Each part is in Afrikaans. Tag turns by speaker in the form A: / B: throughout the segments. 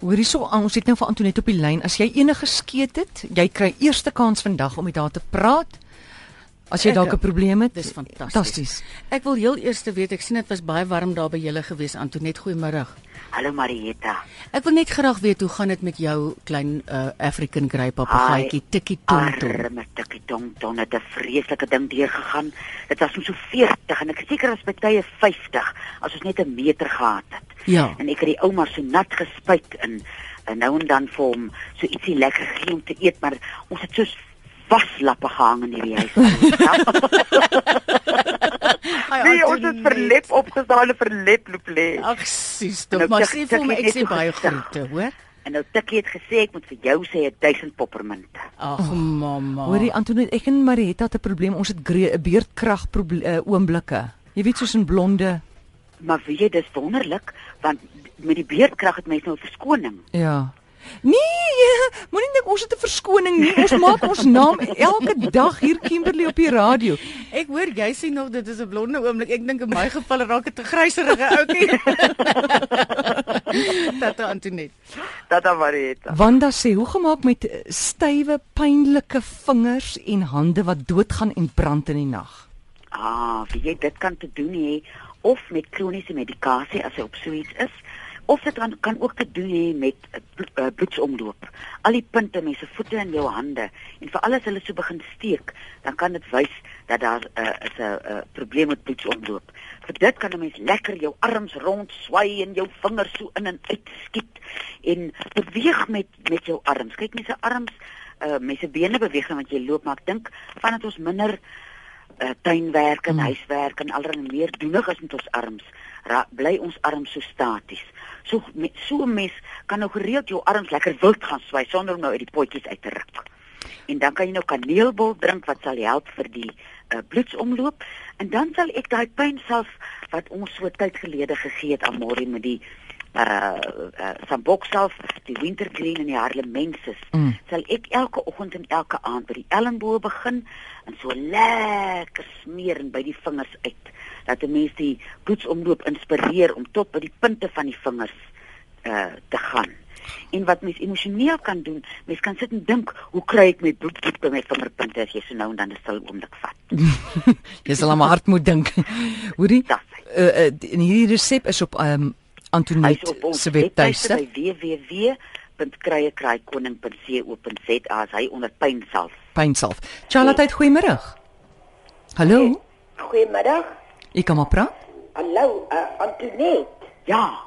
A: Hoor hierso, ah, ons het nou vir Antoinette op die lyn. As jy enige skeet het, jy kry eerste kans vandag om met haar te praat. As jy
B: Ek-
A: dalk 'n probleem het,
B: Dis fantasties.
A: Fantasties.
B: Ek wil heel eers te weet, ek sien dit was baie warm daar by julle gewees Antoinette, goeiemôre.
C: Hallo Marieta.
B: Ek wil net graag weet hoe gaan dit met jou klein uh, African Grey papegaaitjie Tikkie Tonto?
C: Arme tikkie tong tong het 'n vreeslike ding deurgegaan. Dit was om so 40 en ek is seker was by tye 50 as ons net 'n meter gehad het.
B: Ja.
C: En ek het die ouma so nat gespuit en, en nou en dan vir hom so ietsie lekker gegee om te eet, maar ons het so waslappe gehang in hierdie huis. Ja. nee, ons het verlep opgestaan en verlep loop lê.
B: Ag, sis,
C: Nou,
B: tog maar
C: Tikkie
B: sê vir my
C: Tikkie
B: ek
C: het
B: sê baie
C: gesig.
B: groete, hoor?
C: En nou tikkie het gesê ek moet vir jou sê 1000 peppermint.
B: Ag, mamma.
A: Hoorie Antoinette, ek en Marietta het 'n probleem. Ons het gre- 'n beerdkrag proble- eh, oomblikke. Jy weet soos in blonde.
C: Maar weet jy, dis wonderlik want met die beerdkrag het mense nou 'n verskoning.
A: Ja. Nee, moenie dink ons het 'n verskoning nie. Ons maak ons naam elke dag hier Kimberley op die radio.
B: Ek hoor jy sê nog dit is 'n blonde oomblik. Ek dink in my geval raak dit 'n gryserige ouetjie. Tata Antoinette.
C: Tata Marieta.
A: Wanda sê hoe gemaak met eh, stywe, pynlike vingers en hande wat doodgaan en brand in die nag.
C: Ah, weet jy, dit kan te doen hê of met kroniese medikasie as hy op so iets is of dit kan kan ook te doen hê met eh, blo- eh, bloedsomloop. Al die punte mense voete in jou hande en veral as hulle so begin steek, dan kan dit wys dat daar uh, is 'n uh, probleem met bloedsomloop. Vir dit kan 'n mens lekker jou arms rond swai en jou vingers so in en uit skiet en beweeg met met jou arms. Kyk, mense arms, uh, mense bene beweeg net want jy loop, maar ek dink vandat ons minder uh, tuinwerk en huiswerk en allerlei meer doenig is met ons arms. Ra, bly ons arms so staties. So met so 'n mes kan nou gereeld jou arms lekker wild gaan swai sonder om nou uit die potjies uit te ruk. En dan kan jy nou kaneelbol drink wat sal help vir die uh, bloedsomloop en dan sal ek daai pyn self wat ons so tyd gelede gegee het aan Morrie met die uh, uh sambok self, die wintergreen en die harlemensis,
A: Mm.
C: mm. sal ek elke oggend en elke aand by die elmboë begin en so lekker smeer en by die vingers uit dat 'n mens die bloedsomloop inspireer om tot by die punte van die vingers uh te gaan. En wat mens emosioneel kan doen, mens kan sit en dink, hoe kry ek my bloed diep by my vingerpunte as jy so nou en dan 'n stil oomblik vat.
A: Jy sal aan my hart moet dink. Hoorie.
C: Dat hy.
A: Uh, uh, en hierdie resep is op um,
C: Hy's
A: Antoinette
C: op ons
A: se webtuiste.
C: by www.kruiekraaikoning.co.za as hy onder pyn self.
A: Pynsalf.
C: Ja.
A: Charlotte, uit goeiemôre. Hallo.
D: Goeiemiddag.
A: Ek kan maar praat.
D: Hallo, uh, Antoinette.
C: Ja,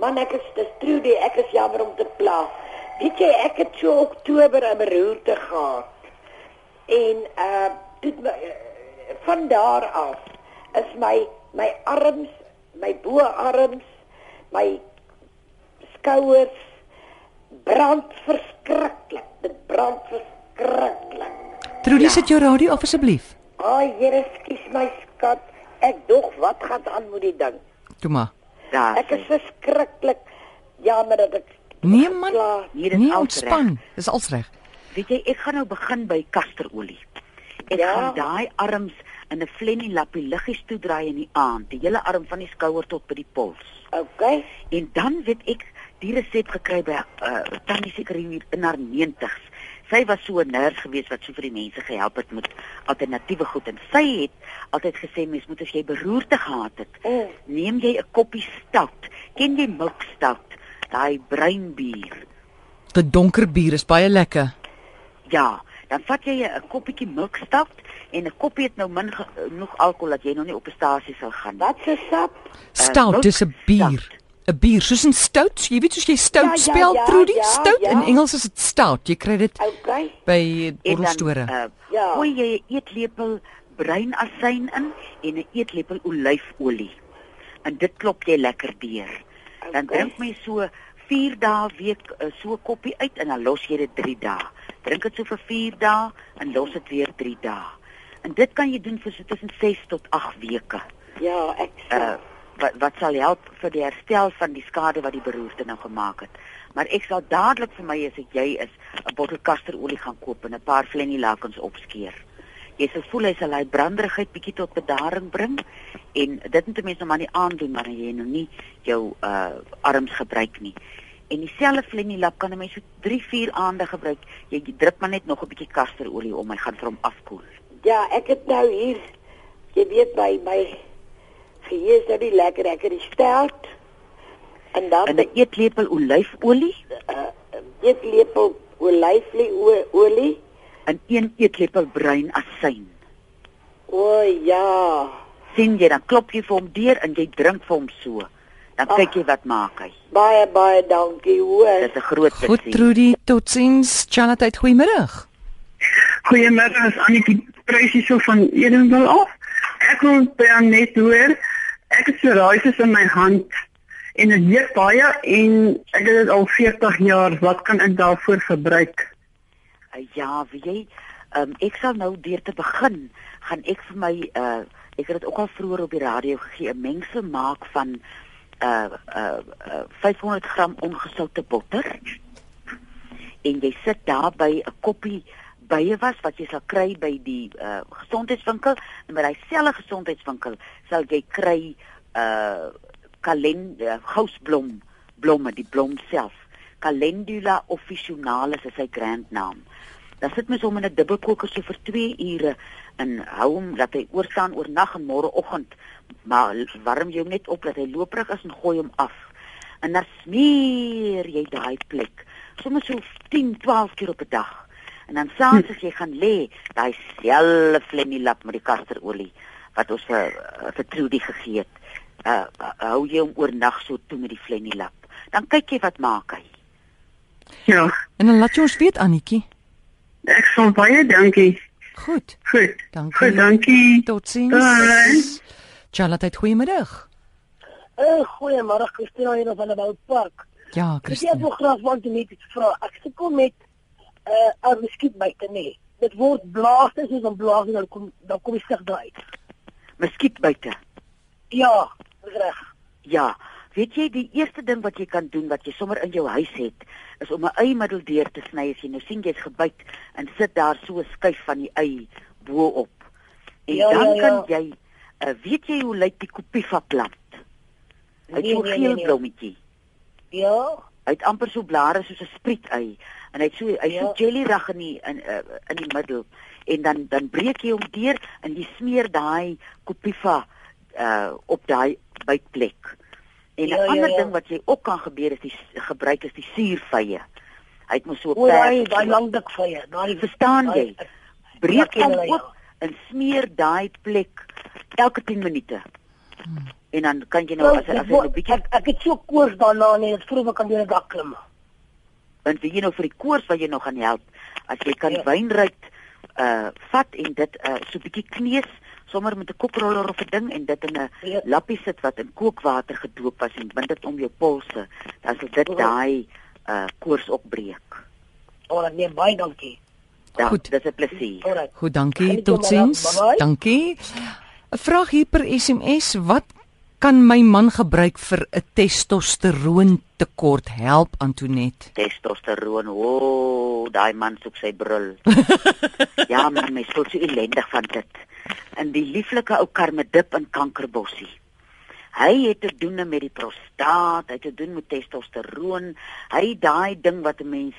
D: Man, ek is dis Trudy, ek is jammer om te pla. Weet jy, ek het so Oktober 'n beroerte gehad. En uh dit my uh, van daar af is my my arms, my boarms, my skouers brand verskriklik. Dit brand verskriklik.
C: Ja.
A: Trudy, sit jou radio af asseblief.
D: Ai, Here, skus my skat. Ek dog wat gaan aan met die ding?
A: Toe maar.
C: daar.
D: Ek is verskriklik jammer dat ek
A: Nee man.
D: Klaar.
C: Ja, Hier is
A: Nee,
C: alles
A: ontspan. Dis als reg.
C: Weet jy, ek gaan nou begin by kasterolie. Ek
D: Ja.
C: gaan daai arms in 'n flennie lappie liggies toedraai in die aand, die hele arm van die skouer tot by die pols.
D: Okay.
C: En dan weet ek die resep gekry by uh, tannie seker hier in haar 90s. Sy was so 'n nurse gewees wat so vir die mense gehelp het met alternatiewe goed en sy het altyd gesê mens moet as jy beroerte gehad het,
D: Mm.
C: neem jy 'n koppie stout. Ken jy milkstout? Daai breinbier.
A: Die donker bier is baie lekker.
C: Eh, Ja, dan vat jy 'n koppietjie milkstout en 'n koppie het nou min ge- genoeg alkohol dat jy nou nie op 'n stasie sal gaan nie.
D: Wat se sap?
A: Stout is 'n bier. 'n Bier soos 'n stout. Jy weet soos jy stout
D: Ja, ja,
A: spel,
D: ja,
A: Trudy.
D: ja,
A: stout
D: ja.
A: in Engels is dit stout. Jy kry dit
D: Okay.
A: by
C: En dan
A: borrelstore.
C: uh,
D: Ja.
C: gooi jy 'n eetlepel breinasyn in en 'n eetlepel olyfolie. En dit klop jy lekker deur. Dan
D: Oké.
C: drink mens so 4 dae 'n week uh, so 'n koppie uit en dan los jy dit 3 dae. Drink dit so vir 4 dae en los dit weer 3 dae. En dit kan jy doen vir so tussen 6 tot 8 weke.
D: Ja, ek
C: Uh,
D: sap.
C: wat wat sal help vir die herstel van die skade wat die beroerte nou gemaak het. Maar ek sal dadelik vir my as ek jy is 'n bottel kasterolie gaan koop en 'n paar flennie lakens opskeer. Jy sal voel hy sal daai branderigheid bietjie tot bedaring bring en dit moet mense nou maar nie aandoen wanneer jy nou nie jou uh arms gebruik nie. En dieselfde flenilap kan 'n mens so 3, 4 aande gebruik. Jy druk maar net nog 'n bietjie kasterolie om, hy gaan vir hom afkoel.
D: Ja, ek het nou hier jy weet my my geheue is nou nie lekker ek het die stout en dan
C: En 'n eetlepel olyfolie
D: uh, eet lepel olyfolie.
C: en 1 eetlepel bruin asyn.
D: O ja.
C: sien jy dan klop jy vir hom deur en jy drink vir hom so. Dan
D: Ag.
C: kyk jy wat maak hy.
D: Baie baie dankie hoor.
C: Dis 'n groot
A: Goed Trudy, totsiens. Chanat, goeiemiddag.
E: Goeiemiddag, is Annetjie Prys hierso van Edenville af. Ek wil by jou net hoor. Ek het psoriasis in my hand en dit juk baie en ek het dit al 40 jaar. Wat kan ek daarvoor gebruik?
C: Uh, ja, weet jy, um, ek sal nou deur te begin gaan ek vir my uh ek het dit ook al vroeër op die radio gegee, 'n mengsel maak van uh uh, uh 500 gram ongesoute botter en jy sit daar by 'n koppie bye was wat jy sal kry by die uh gesondheidswinkel en by dieselfde gesondheidswinkel sal jy kry uh kalen uh, gousblom blomme die blom self calendula officinalis is sy grandnaam dan sit mens hom in 'n dubbelkoker so vir 2 ure en hou hom dat hy oorstaan oornag en môreoggend maar warm jy hom net op dat hy looprig is en gooi hom af en dan smeer jy daai plek sommer so 10, 12 keer op 'n dag. En dan saans as jy gaan lê, daai selfe flenilap met die kasterolie wat ons vir vir Trudy gegee het. Uh hou jy hom oornag so toe met die flenilap. Dan kyk jy wat maak hy.
E: Ja,
A: En dan laat jy ons weet Annetjie.
E: ek sal baie dankie.
A: Goed.
E: Goed.
A: Dankie.
E: Goed, dankie. Bye.
A: Totsiens. Charlotte, goeiemiddag.
F: Eh, Goeiemôre, Christina hier van die Boupark.
A: Ja,
F: Ek het
A: Christine.
F: nog graag want om iets vra. Ek sukkel met 'n uh, ou muskiet by te nê. Dit word blaas en soos 'n blaas en dan kom dan kom die sig daai uit.
C: Muskiet buite.
F: Ja, dis reg.
C: Ja, weet jy die eerste ding wat jy kan doen wat jy sommer in jou huis het, is om 'n eimiddel deur te sny as jy nou sien jy's gebyt en sit daar so 'n skyf van die ei bo op. En
F: Ja,
C: ja,
F: ja,
C: dan ja, ja.
F: ja.
C: kan jy uh, weet jy hoe lyk die kopiva plant? Hy't
F: Nee,
C: so
F: nee, nee,
C: geel
F: nee.
C: blommetjie.
F: Ja,
C: Hy't amper so blare soos 'n sprietei en hy't so hy't
F: Ja.
C: so jelly rag in die in uh, in die middel en dan dan breek jy hom deur en jy smeer daai kopiva uh op daai bytplek. En 'n
F: Ja, ja,
C: ander
F: ja.
C: ding wat jy ook kan gebeur is die s- gebruik is die suurvye. Hy het mos so 'n
F: hoe daai
C: pers-
F: daai lang dik vye, daai
C: Verstaan
F: daai-
C: jy? breek
F: Ja, ken
C: hom
F: hulle, ja.
C: oop en smeer daai plek elke 10 minute. En dan kan jy nou as as
F: Hmm. Wel,
C: jy
F: dit
C: nou 'n
F: word-
C: bietjie
F: Ek ek het so koors daarna en dit vroeg kan jy net dak klim.
C: want wie jy nou vir die koors wat jy nog gaan help, as jy kan
F: Ja.
C: wynruit uh vat en dit uh so bietjie kneus sommer met 'n koproller of 'n ding en dit in 'n
F: Ja.
C: lappie sit wat in kookwater gedoop was en bind dit om jou polse, dan sal
F: Ja.
C: dit daai uh koors opbreek.
F: Ora, nee, baie dankie.
C: Dan,
A: Goed.
C: dis 'n plesier.
F: Ora. Geniet
A: Goed, dankie.
F: jou middag.
A: Totsiens.
F: Bye-bye.
A: Dankie. 'n Vraag hier per SMS, wat kan my man gebruik vir 'n testosteroon tekort? Help Antoinette.
C: testosteroon. O, oh, daai man soek sy brul. ja, man, mens voel so ellendig van dit. En die lieflike ou karmedip in kankerbossie. Hy het te doen met die prostaat, hy het te doen met testosteroon. Hy daai ding wat 'n mens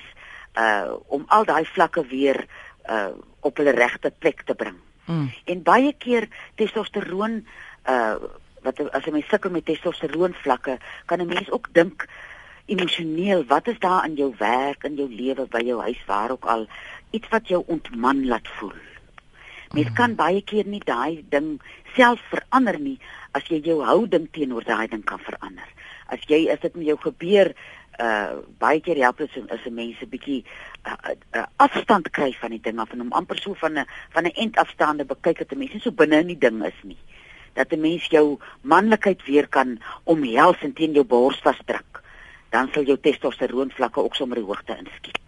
C: uh om al daai vlakke weer uh op hulle regte plek te bring.
A: Mm.
C: En baie keer testosteroon uh wat as 'n mens sukkel met testosteroon vlakke, kan 'n mens ook dink emosioneel, wat is daar in jou werk, in jou lewe, by jou huis, waar ook al, iets wat jou ontman laat voel. Mens kan baie keer nie daai ding self verander nie as jy jou houding teenoor daai ding kan verander. As jy as dit met jou gebeur, uh baie keer help dit so- as 'n mens 'n bietjie uh, uh, uh, afstand kry van die ding af en hom amper so van 'n van 'n endafstaande bekyk dat 'n mens nie so binne in die ding is nie. Dat 'n mens jou manlikheid weer kan omhels en teen jou bors vasdruk. Dan sal jou testosteroon vlakke ook sommer die hoogte inskiet.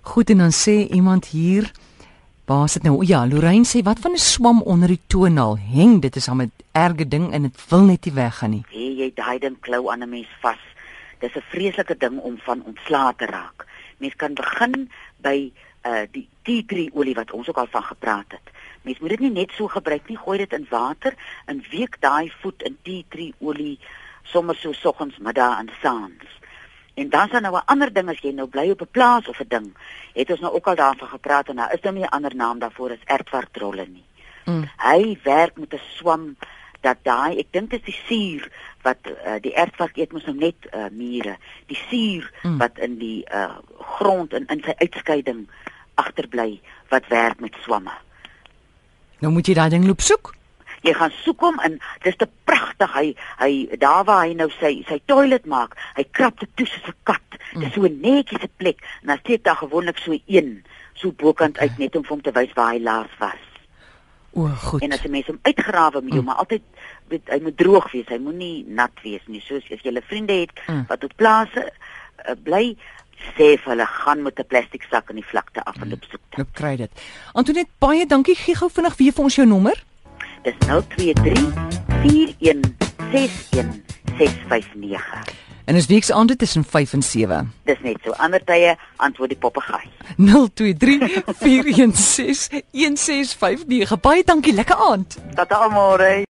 A: Goed en dan sê iemand hier Waar sit nou? O ja, Lorraine sê wat van 'n swam onder die toonaal? Heng, dit is 'n erge ding en dit wil net nie weggaan nie.
C: Hê jy daai ding klou aan 'n mens vas. Dis 'n vreeslike ding om van ontslae te raak. Mens kan begin by uh die tea tree olie wat ons ook al van gepraat het. Mens moet dit nie net so gebruik nie, gooi dit in water en week daai voet in tea tree olie sommer so soggens, middag en saans. En dan sal nou 'n ander ding as jy nou bly op 'n plaas of 'n ding, het ons nou ook al daarvan gepraat en daar is nou nie 'n ander naam daarvoor as ertwartrolle nie. Mm. Hy werk met 'n swam dat daai ek dink dit is die suur wat uh, die ertvark eet mos nou net uh, mure. Die suur mm. wat in die uh, grond en in sy uitskeiding agterbly wat werk met swamme.
A: Nou moet jy daai ding loop soek.
C: Jy gaan soek hom in. Dis te pragtig. Hy hy daar waar hy nou sy sy toilet maak, hy krap dit toe soos 'n kat. Dis so 'n netjiese plek en dan steek daar gewoonlik so een so bokant uit net om vir hom te wys waar hy laas was.
A: O, goed.
C: En as 'n mens hom uitgrawe moet jy maar altyd weet hy moet droog wees. Hy moenie nat wees nie. Soos as jy 'n vriende het wat op plase uh, bly, sê vir hulle gaan met 'n plastiek sak in die vlakte af en loop soek dit.
A: Loop kry dit. Antoinette, baie dankie. Gee gou vinnig weer vir ons jou nommer.
C: Dis 023 41 61 659.
A: En dis weeks aande tussen 5 en 7.
C: Dis net so. Ander tye antwoord die papegaai.
A: 023 416 1659. Baie dankie. Lekker aand.
C: Tot almal.